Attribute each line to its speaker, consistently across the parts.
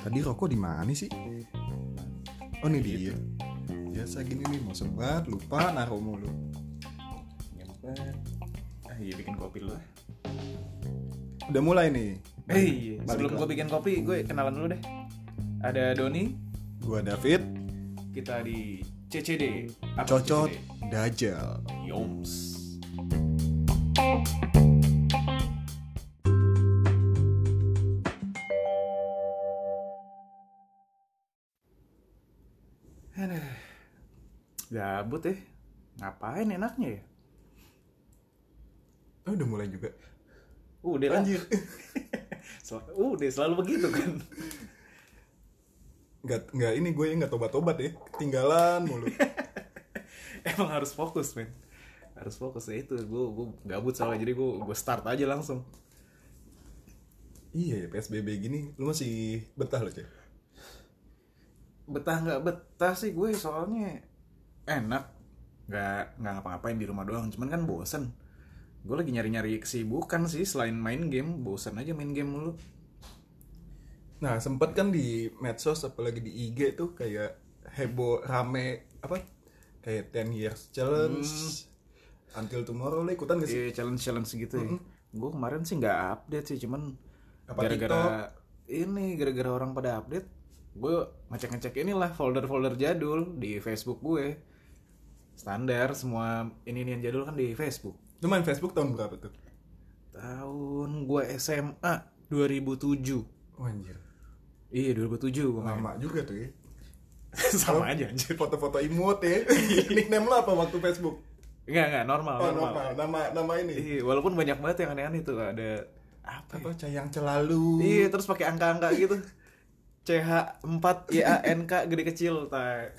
Speaker 1: Tadi rokok di mana sih? Oh ini dia. Biasa gini nih mau sebat lupa naruh mulu.
Speaker 2: nyempet ah iya bikin kopi dulu lah
Speaker 1: Udah mulai nih.
Speaker 2: Hey,
Speaker 1: Balik
Speaker 2: Eh, iya. sebelum
Speaker 1: lagi.
Speaker 2: gue bikin kopi, gue kenalan dulu deh. Ada Doni,
Speaker 1: Gua David,
Speaker 2: kita di CCD. Apa
Speaker 1: cocot,
Speaker 2: CCD?
Speaker 1: dajal.
Speaker 2: Yoms. Aduh. Gabut ya. Ngapain enaknya ya?
Speaker 1: Oh, udah mulai juga.
Speaker 2: Udah lah.
Speaker 1: Anjir.
Speaker 2: Sel- Udah selalu begitu kan.
Speaker 1: Nggak, nggak ini gue nggak tobat-tobat ya. Ketinggalan mulu.
Speaker 2: Emang harus fokus men. Harus fokus ya itu. Gue gue gabut soalnya jadi gue gue start aja langsung.
Speaker 1: iya ya PSBB gini, lu masih betah lo cek?
Speaker 2: betah nggak betah sih gue soalnya enak nggak nggak ngapa-ngapain di rumah doang cuman kan bosen gue lagi nyari-nyari kesibukan sih selain main game bosen aja main game mulu
Speaker 1: Nah sempet kan di medsos apalagi di IG tuh kayak heboh rame apa kayak 10 years challenge until tomorrow lo ikutan gak sih?
Speaker 2: Iya, challenge challenge gitu ya. gue kemarin sih nggak update sih cuman
Speaker 1: Apa
Speaker 2: gara-gara ini gara-gara orang pada update gue ngecek-ngecek inilah folder-folder jadul di Facebook gue standar semua ini yang jadul kan di Facebook
Speaker 1: Lu main Facebook tahun berapa tuh?
Speaker 2: tahun gue SMA 2007
Speaker 1: Oh, anjir.
Speaker 2: Iya 2007 gue main
Speaker 1: Lama juga tuh ya. Oh.
Speaker 2: Sama aja anjir
Speaker 1: Foto-foto imut ya. Nickname lo apa waktu Facebook?
Speaker 2: Enggak enggak normal,
Speaker 1: Oh, nama,
Speaker 2: normal.
Speaker 1: nama, nama ini.
Speaker 2: Iya walaupun banyak banget yang aneh-aneh tuh Ada apa ya?
Speaker 1: Apa cayang celalu.
Speaker 2: Iya terus pakai angka-angka gitu CH4 YANK gede kecil tak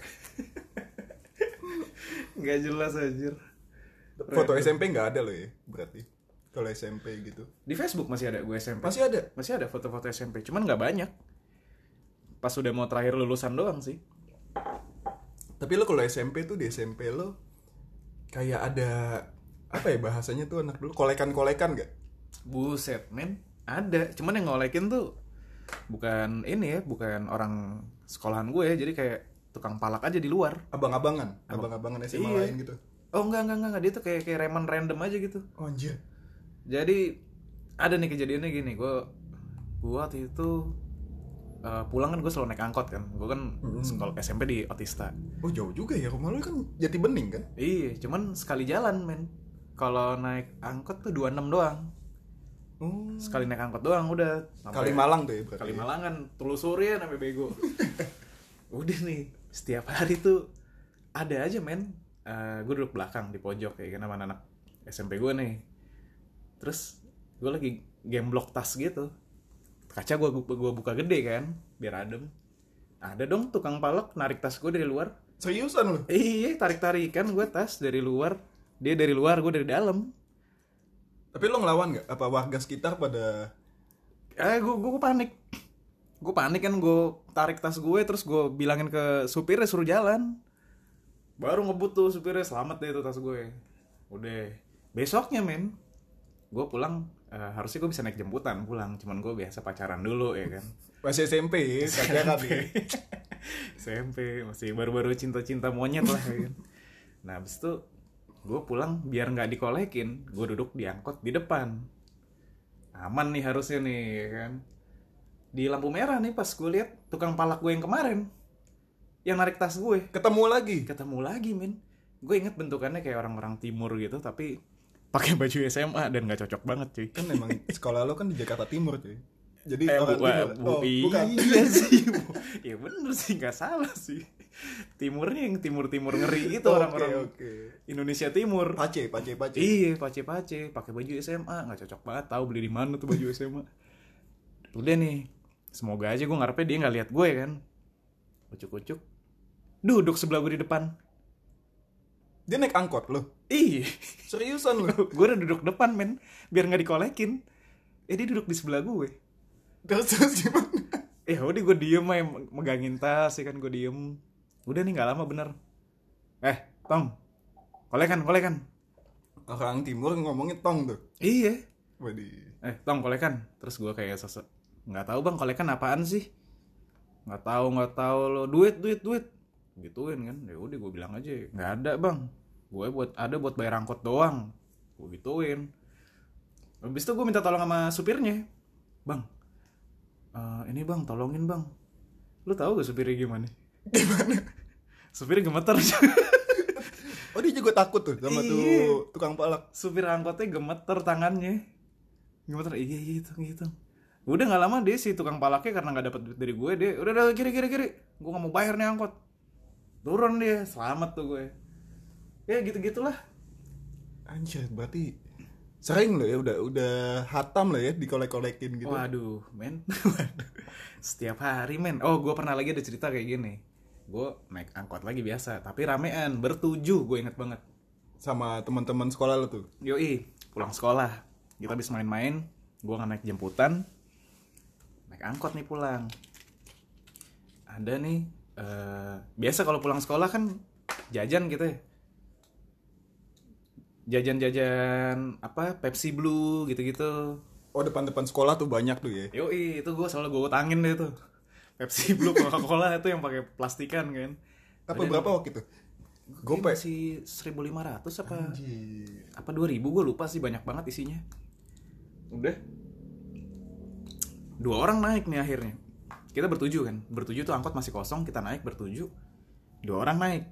Speaker 2: Enggak jelas anjir
Speaker 1: Foto SMP nggak ada lo ya berarti. Kalau SMP gitu.
Speaker 2: Di Facebook masih ada gue SMP
Speaker 1: Masih ada.
Speaker 2: Masih ada foto-foto SMP Cuman nggak banyak Pas udah mau terakhir lulusan doang sih
Speaker 1: Tapi lo kalau SMP tuh di SMP lo kayak ada apa ya bahasanya tuh anak dulu kolekan-kolekan gak?
Speaker 2: Buset men Ada Cuman yang ngolekin tuh Bukan ini ya Bukan orang sekolahan gue Jadi kayak tukang palak aja di luar
Speaker 1: Abang-abangan, abang-abangan SMA
Speaker 2: Iya.
Speaker 1: lain gitu.
Speaker 2: Oh enggak enggak enggak enggak. Dia tuh kayak, kayak reman random aja gitu
Speaker 1: Oh, anjir.
Speaker 2: Jadi Ada nih kejadiannya gini Gue Gue waktu itu eh, Pulang kan gue selalu naik angkot kan Gue kan sekolah SMP di Otista
Speaker 1: Oh, jauh juga ya rumah lo kan Jati Bening kan?
Speaker 2: Iya cuman sekali jalan men Kalau naik angkot tuh 26 doang
Speaker 1: Oh.
Speaker 2: Sekali naik angkot doang udah Sampai-
Speaker 1: Kali Malang tuh ya berarti.
Speaker 2: kali malangan telusurin sampai bego udah nih setiap hari tuh ada aja men gue duduk belakang di pojok kayak karena anak SMP gue nih terus gue lagi game blok tas gitu kaca gue gua buka gede kan biar adem ada dong tukang palok narik tas gue dari luar
Speaker 1: Seriusan lo?
Speaker 2: iya tarik tarikan gue tas dari luar dia dari luar gue dari dalam
Speaker 1: Tapi lo ngelawan gak? Apa warga sekitar pada
Speaker 2: eh gue gue panik gue panik kan gue tarik tas gue terus gue bilangin ke supirnya suruh jalan baru ngebut tuh supirnya selamat deh itu tas gue udah besoknya men gue pulang eh, harusnya gue bisa naik jemputan pulang cuman gue biasa pacaran dulu ya kan
Speaker 1: masih SMP ya, pacaran ya?
Speaker 2: SMP masih baru-baru cinta-cinta monyet lah ya kan. nah abis itu gue pulang biar nggak dikolekin gue duduk di angkot di depan aman nih harusnya nih ya kan di lampu merah nih pas gue lihat tukang palak gue yang kemarin yang narik tas gue
Speaker 1: Ketemu lagi.
Speaker 2: ketemu lagi men gue inget bentukannya kayak orang-orang timur gitu tapi pakai baju SMA dan nggak cocok banget cuy
Speaker 1: Kan emang sekolah lo kan di Jakarta Timur cuy. Jadi
Speaker 2: Eh,
Speaker 1: orang
Speaker 2: bu-
Speaker 1: timur.
Speaker 2: bu-
Speaker 1: Oh, bukan.
Speaker 2: iya sih. bu- ya bener sih, nggak salah sih. Timurnya yang timur-timur ngeri gitu
Speaker 1: Oke,
Speaker 2: orang-orang
Speaker 1: oke.
Speaker 2: Indonesia Timur.
Speaker 1: Pace, pace, pace.
Speaker 2: Iya, pace-pace, pakai baju SMA, nggak cocok banget. Tahu beli di mana tuh baju SMA. Udah nih, semoga aja gue ngarepnya dia nggak lihat gue kan. Ucuk-ucuk, duduk sebelah gue di depan.
Speaker 1: Dia naik angkot lo.
Speaker 2: Iya,
Speaker 1: Seriusan lo.
Speaker 2: gue udah duduk depan men, biar nggak dikolekin. Eh dia duduk di sebelah gue.
Speaker 1: Terus terus gimana?
Speaker 2: ya udah gue diem aja me- megangin tas ya kan gue diem udah nih nggak lama bener eh Tom kolekan kolekan
Speaker 1: orang timur ngomongnya tong tuh
Speaker 2: Iya.
Speaker 1: Waduh.
Speaker 2: Eh, tong kolekan. Terus gua kayak sosok nggak tahu bang kolekan apaan sih? Nggak tahu nggak tahu lo duit duit duit. Gituin kan. Ya udah gue bilang aja nggak ada bang. Gue buat ada buat bayar angkot doang. Gue gituin. Habis itu gue minta tolong sama supirnya. Bang, eh, ini bang tolongin bang. Lu tahu gak supirnya gimana?
Speaker 1: gimana
Speaker 2: Supirnya gemeter.
Speaker 1: oh dia juga takut tuh sama
Speaker 2: Iya.
Speaker 1: tuh tukang palak
Speaker 2: supir angkotnya gemeter tangannya gemeter iya iya hitung hitung udah nggak lama dia si tukang palaknya karena nggak dapat duit dari gue dia udah udah kiri kiri kiri gue nggak mau bayar nih angkot turun dia selamat tuh gue ya gitu gitulah
Speaker 1: anjir berarti sering loh ya udah udah hatam loh ya dikolek-kolekin gitu
Speaker 2: waduh men waduh setiap hari men oh gue pernah lagi ada cerita kayak gini gue naik angkot lagi biasa tapi ramean bertujuh gue inget banget
Speaker 1: sama teman-teman sekolah lo tuh
Speaker 2: Yoi, pulang sekolah. Kita habis main-main, gua nggak naik jemputan. Naik angkot nih pulang. Ada nih eh, biasa kalau pulang sekolah kan jajan gitu ya. Jajan-jajan apa Pepsi Blue gitu-gitu.
Speaker 1: oh depan-depan sekolah tuh banyak tuh ya
Speaker 2: Yoi, itu gua selalu gue utangin deh tuh. Pepsi Blue Coca-Cola itu yang pakai plastikan kan.
Speaker 1: apa berapa waktu itu
Speaker 2: Gue
Speaker 1: gope
Speaker 2: masih 1500 apa
Speaker 1: Anjir.
Speaker 2: apa 2000 gue lupa sih banyak banget isinya udah dua orang naik nih akhirnya kita bertujuh kan bertujuh tuh angkot masih kosong kita naik bertujuh dua orang naik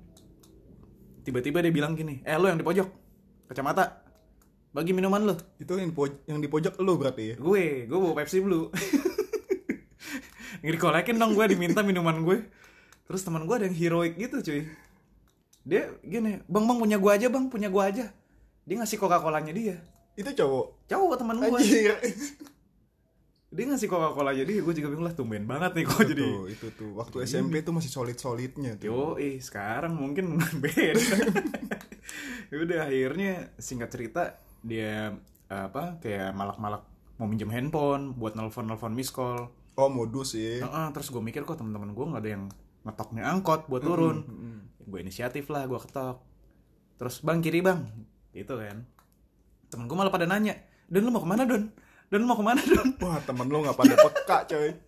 Speaker 2: tiba-tiba dia bilang gini eh lo yang di pojok kacamata bagi minuman lo
Speaker 1: itu yang di, poj- yang di pojok lo berarti ya
Speaker 2: gue gue bawa Pepsi Blue dikolekin dong gue diminta minuman gue terus teman gue ada yang heroik gitu cuy dia gini bang bang punya gue aja bang punya gue aja dia ngasih coca colanya dia
Speaker 1: itu cowok
Speaker 2: cowok teman gue
Speaker 1: anjir
Speaker 2: dia ngasih coca cola jadi gue juga bingung lah tumben banget nih kok
Speaker 1: Itu
Speaker 2: jadi
Speaker 1: tuh, itu tuh waktu SMP tuh masih solid-solidnya tuh
Speaker 2: yo eh sekarang mungkin beda Ya udah akhirnya singkat cerita dia apa kayak malak-malak mau minjem handphone buat nelfon-nelfon miss call
Speaker 1: oh modus ya
Speaker 2: Heeh, terus gue mikir kok teman-teman gue nggak ada yang ngetok nih angkot buat turun. Gue inisiatif lah, gue ketok. Terus bang kiri bang, gitu kan. Temen gue malah pada nanya, Don lu mau kemana Don? Don lu mau kemana Don?
Speaker 1: wah temen lo nggak pada peka coy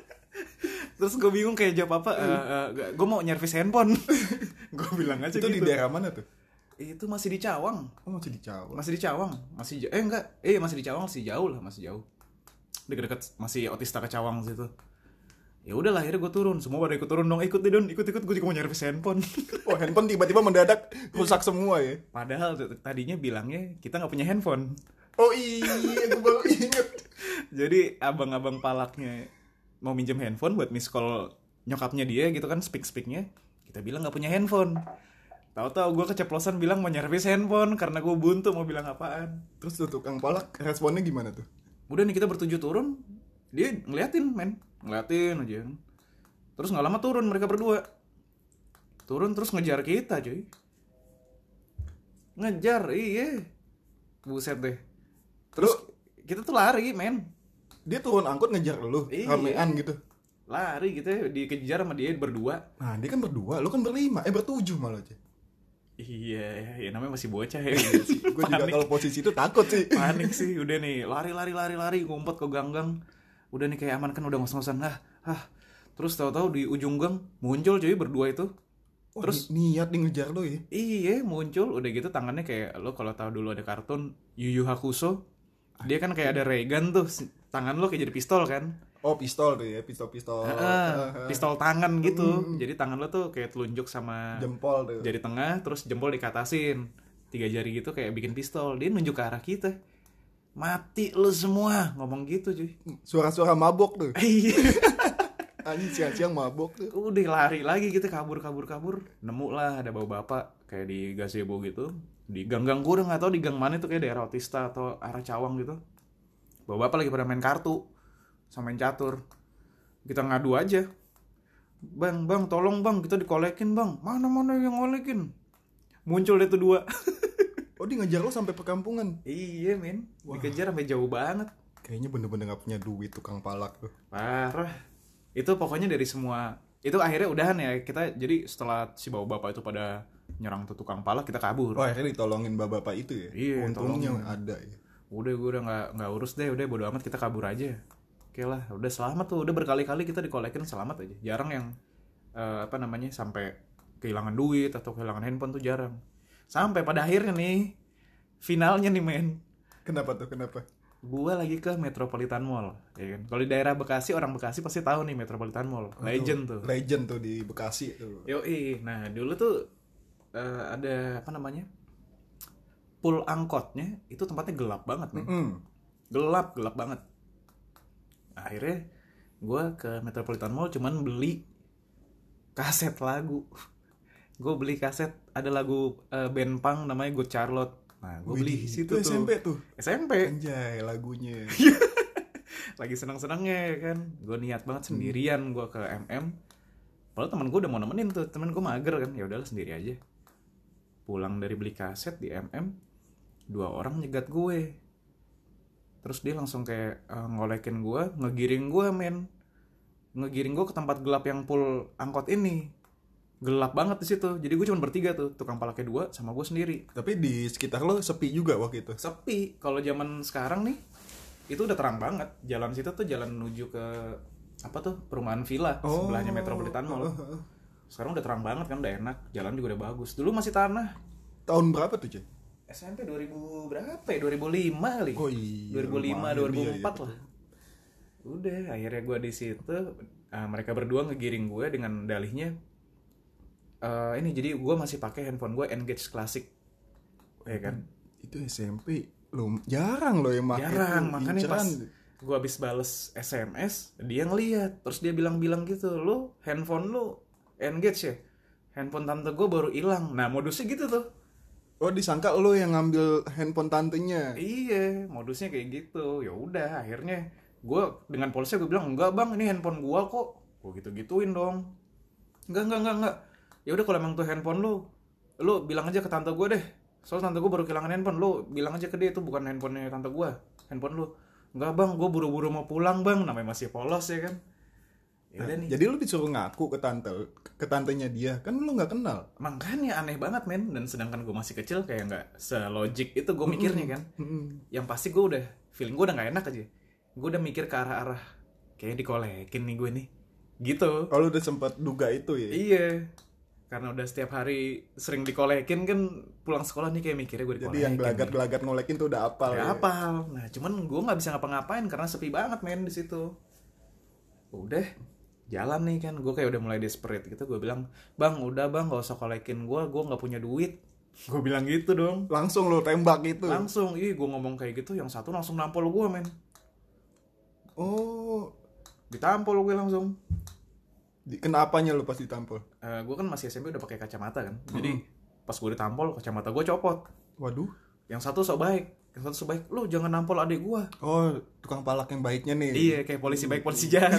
Speaker 2: Terus gue bingung kayak jawab
Speaker 1: Hmm.
Speaker 2: apa, "Eh, gue mau nyervis handphone. gue bilang aja
Speaker 1: itu di
Speaker 2: gitu. "Eh,
Speaker 1: daerah mana tuh
Speaker 2: Itu masih di Cawang,
Speaker 1: oh masih di Jawa
Speaker 2: masih di Cawang, masih ja- eh enggak, eh masih di Cawang masih jauh lah, masih jauh. Deket-deket masih otista ke Cawang situ. Ya udahlah akhirnya gue turun, semua pada ikut turun dong, "Eh, ikut deh Don, ikut-ikut gue juga mau nyervis handphone.
Speaker 1: oh handphone tiba-tiba mendadak rusak semua ya
Speaker 2: Padahal t- tadinya bilangnya kita nggak punya handphone.
Speaker 1: oh iya gue baru inget
Speaker 2: Jadi abang-abang palaknya mau minjem handphone buat miss call nyokapnya dia gitu kan speak speaknya. Kita bilang nggak punya handphone. Tahu-tahu gue keceplosan bilang mau nyervis handphone karena gue buntu mau bilang apaan.
Speaker 1: terus tuh tukang palak responnya gimana tuh
Speaker 2: Udah nih kita bertujuh turun, dia ngeliatin men, ngeliatin aja. Terus nggak lama turun mereka berdua. Turun terus ngejar kita cuy. Ngejar, iya. Buset deh. Terus kita tuh lari men.
Speaker 1: dia turun angkot ngejar lu
Speaker 2: Iya.
Speaker 1: ramean gitu
Speaker 2: Lari gitu ya, dikejar sama dia berdua.
Speaker 1: nah dia kan berdua lu kan berlima eh bertujuh malah aja
Speaker 2: Iya, ya namanya masih bocah ya.
Speaker 1: gue Iya juga kalau posisi itu takut sih
Speaker 2: panik sih udah nih lari lari lari lari ngumpet ke gang-gang udah nih kayak aman kan udah ngos-ngosan ah ah terus tahu-tahu di ujung gang muncul cuy berdua itu
Speaker 1: terus niat nih ngejar lu ya
Speaker 2: iya muncul udah gitu tangannya kayak lo kalau tahu dulu ada kartun Yu Yu Hakusho dia kan kayak ada Regan tuh si- tangan lo kayak jadi pistol kan
Speaker 1: oh pistol tuh ya pistol pistol
Speaker 2: Ah, pistol tangan
Speaker 1: Hmm.
Speaker 2: gitu jadi tangan lo tuh kayak telunjuk sama
Speaker 1: jempol tuh
Speaker 2: jari tengah terus jempol dikatasin tiga jari gitu kayak bikin pistol dia nunjuk ke arah kita mati lo semua ngomong gitu cuy
Speaker 1: suara-suara mabok tuh
Speaker 2: Iya.
Speaker 1: anjing siang-siang mabok tuh
Speaker 2: Udah lari lagi gitu kabur kabur kabur. Nemu lah ada bawa bapak kayak di gazebo gitu. Di gang-gang gue udah nggak tahu di gang mana itu kayak daerah Otista atau arah Cawang gitu. Bawa bapak lagi pada main kartu sama main catur. Kita ngadu aja. Bang, bang, tolong bang, kita dikolekin bang. Mana mana yang ngolekin? Muncul deh tuh dua.
Speaker 1: oh dia ngejar lu sampai perkampungan
Speaker 2: iya men, dikejar sampai jauh banget.
Speaker 1: kayaknya bener-bener gak punya duit tukang palak tuh
Speaker 2: Parah. Itu pokoknya dari semua itu akhirnya udahan ya kita jadi setelah si bawa bapak itu pada nyerang tuh tukang pala kita kabur
Speaker 1: Oh akhirnya ditolongin bapak-bapak itu ya?
Speaker 2: Iya,
Speaker 1: Untungnya
Speaker 2: tolongin.
Speaker 1: ada ya.
Speaker 2: udah gue udah nggak nggak urus deh udah bodo amat kita kabur aja oke lah udah selamat tuh udah berkali-kali kita dikolekin selamat aja jarang yang eh, apa namanya sampai kehilangan duit atau kehilangan handphone tuh jarang sampai pada akhirnya nih finalnya nih men
Speaker 1: Kenapa tuh? Kenapa?
Speaker 2: gue lagi ke Metropolitan Mall ya kan kalau di daerah Bekasi orang Bekasi pasti tahu nih Metropolitan Mall legend tuh
Speaker 1: Legend tuh di Bekasi tuh.
Speaker 2: Yoi, nah dulu tuh eh, ada apa namanya pool angkotnya itu tempatnya gelap banget nih,
Speaker 1: Hmm.
Speaker 2: gelap gelap banget. Nah, Akhirnya gue ke Metropolitan Mall cuman beli kaset lagu. Gue beli kaset ada lagu eh, band punk namanya Good Charlotte. Nah gue
Speaker 1: Widih,
Speaker 2: beli situ tuh Eh.
Speaker 1: itu SMP tuh.
Speaker 2: SMP
Speaker 1: Anjay lagunya.
Speaker 2: lagi senang-senangnya ya kan gue niat banget sendirian gue ke MM padahal teman gue udah mau nemenin tuh temen gue mager kan ya udahlah sendiri aja pulang dari beli kaset di MM dua orang nyegat gue terus dia langsung kayak eh, ngolekin gue ngegiring gue men ngegiring gue ke tempat gelap yang full angkot ini gelap banget di situ jadi gue cuma bertiga tuh tukang palaknya dua sama gue sendiri
Speaker 1: Tapi di sekitar lo sepi juga waktu itu.
Speaker 2: sepi kalau zaman sekarang nih itu udah terang banget jalan situ tuh jalan menuju ke apa tuh perumahan villa
Speaker 1: Oh.
Speaker 2: sebelahnya metropolitan mall sekarang udah terang banget kan udah enak jalan juga udah bagus dulu masih tanah
Speaker 1: Tahun berapa tuh, Cek?
Speaker 2: SMP 2000 berapa ya 2005 kali
Speaker 1: Oh iya,
Speaker 2: 2005
Speaker 1: lumayan,
Speaker 2: 2004
Speaker 1: iya, iya,
Speaker 2: lah udah akhirnya gue di situ ah, mereka berdua ngegiring gue dengan dalihnya eh, ini jadi gue masih pakai handphone gue Engage E Classic ya kan
Speaker 1: Itu SMP lo jarang lo yang pakai
Speaker 2: jarang
Speaker 1: tuh,
Speaker 2: makanya pas
Speaker 1: inceran.
Speaker 2: gue abis bales SMS dia ngeliat terus dia bilang-bilang gitu lu handphone lu engage ya handphone tante gue baru hilang nah modusnya gitu tuh
Speaker 1: Oh disangka lo yang ngambil handphone tantenya.
Speaker 2: iya modusnya kayak gitu ya udah akhirnya gue dengan polisi gue bilang enggak bang ini handphone gue kok gue gitu gituin dong enggak enggak enggak enggak ya udah kalau emang tuh handphone lu lu bilang aja ke tante gue deh soalnya tante gue baru kehilangan handphone lu bilang aja ke dia itu bukan handphonenya tante gue handphone lu enggak bang gue buru-buru mau pulang bang namanya masih polos ya kan ya udah nih
Speaker 1: Jadi lo disuruh ngaku ke tante ke tantenya dia, kan lo nggak kenal.
Speaker 2: makanya aneh banget men dan sedangkan gue masih kecil kayak nggak selogik itu gue mikirnya kan
Speaker 1: Mm-mm.
Speaker 2: yang pasti gue udah feeling gue udah nggak enak aja gue udah mikir ke arah arah kayak dikolekin nih gue nih gitu
Speaker 1: Oh, lo udah sempat duga itu ya.
Speaker 2: iya karena udah setiap hari sering dikolekin kan pulang sekolah nih kayak mikirnya gue
Speaker 1: Jadi
Speaker 2: dikolekin
Speaker 1: yang gelagat-gelagat ngolekin tuh udah apal.
Speaker 2: Kayak
Speaker 1: ya.
Speaker 2: apal. Nah, cuman gue nggak bisa ngapa-ngapain karena sepi banget men di situ. Udah jalan nih kan, gue kayak udah mulai desperate gitu. Gue bilang, bang, udah bang, gak usah kolekin gue, gue nggak punya duit. Gue bilang gitu dong.
Speaker 1: Langsung lo tembak itu.
Speaker 2: Langsung, ih, gue ngomong kayak gitu, yang satu langsung nampol gue men.
Speaker 1: Oh,
Speaker 2: Ditampol gue langsung.
Speaker 1: di, kenapanya lo pas ditampol?
Speaker 2: Eh gue kan masih SMP udah pakai kacamata kan, jadi pas gue ditampol kacamata gue copot.
Speaker 1: Waduh.
Speaker 2: Yang satu sok baik, yang satu sok baik, lo jangan nampol adik gue.
Speaker 1: Oh, tukang palak yang baiknya nih.
Speaker 2: Iya kayak polisi baik polisi jahat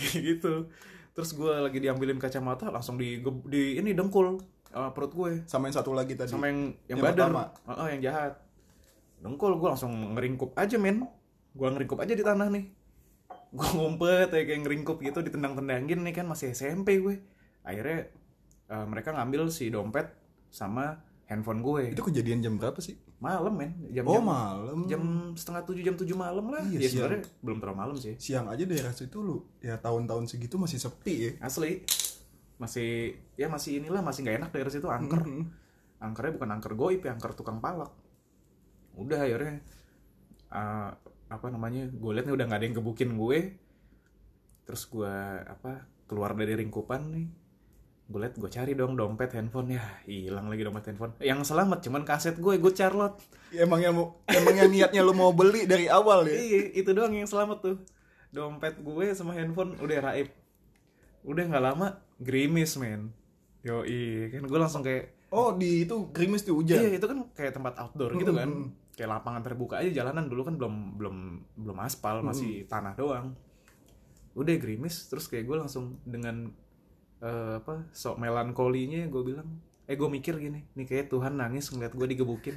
Speaker 2: Kayak gitu. Terus gue lagi diambilin kacamata langsung di di ini dengkul eh, perut gue
Speaker 1: Sama yang satu lagi tadi.
Speaker 2: sama yang yang,
Speaker 1: Yang
Speaker 2: badar
Speaker 1: pertama.
Speaker 2: Heeh, yang jahat. Dengkul gue langsung ngeringkup aja men. Gue ngeringkup aja di tanah nih. Gue ngumpet ya, kayak ngeringkup gitu ditendang-tendangin nih kan masih SMP gue. Akhirnya eh, mereka ngambil si dompet sama handphone gue.
Speaker 1: Itu kejadian jam berapa sih?
Speaker 2: Malam
Speaker 1: Oh,
Speaker 2: men, jam-jam
Speaker 1: malam.
Speaker 2: jam setengah tujuh jam tujuh malam lah.
Speaker 1: Iya,
Speaker 2: ya
Speaker 1: siang.
Speaker 2: sebenarnya belum terlalu malam sih.
Speaker 1: Siang aja daerah situ lu. Ya tahun-tahun segitu masih sepi ya.
Speaker 2: asli masih ya masih inilah masih nggak enak daerah situ angker
Speaker 1: Mm-mm.
Speaker 2: angkernya bukan angker goib ya angker tukang palak udah akhirnya eh, apa namanya gue liat nih udah nggak ada yang gebukin gue terus gue apa keluar dari ringkupan nih gue liat gue cari dong dompet handphone ya hilang lagi dompet handphone yang selamat cuman kaset gue gue Charlotte
Speaker 1: Ya, Emang yang mau- emang yang niatnya lu mau beli dari awal ya.
Speaker 2: Iya, itu doang yang selamat tuh. Dompet gue sama handphone udah raib. Udah nggak lama gerimis, men. Yo, kan gue langsung kayak
Speaker 1: Oh, di itu gerimis di hujan.
Speaker 2: Iya, itu kan kayak tempat outdoor gitu kan.
Speaker 1: Mm-mm.
Speaker 2: Kayak lapangan terbuka aja jalanan dulu kan belum belum belum aspal, masih tanah doang. Udah gerimis terus kayak gue langsung dengan eh, apa? sok melankolinya gue bilang, eh gue mikir gini, nih kayak Tuhan nangis ngeliat gue digebukin.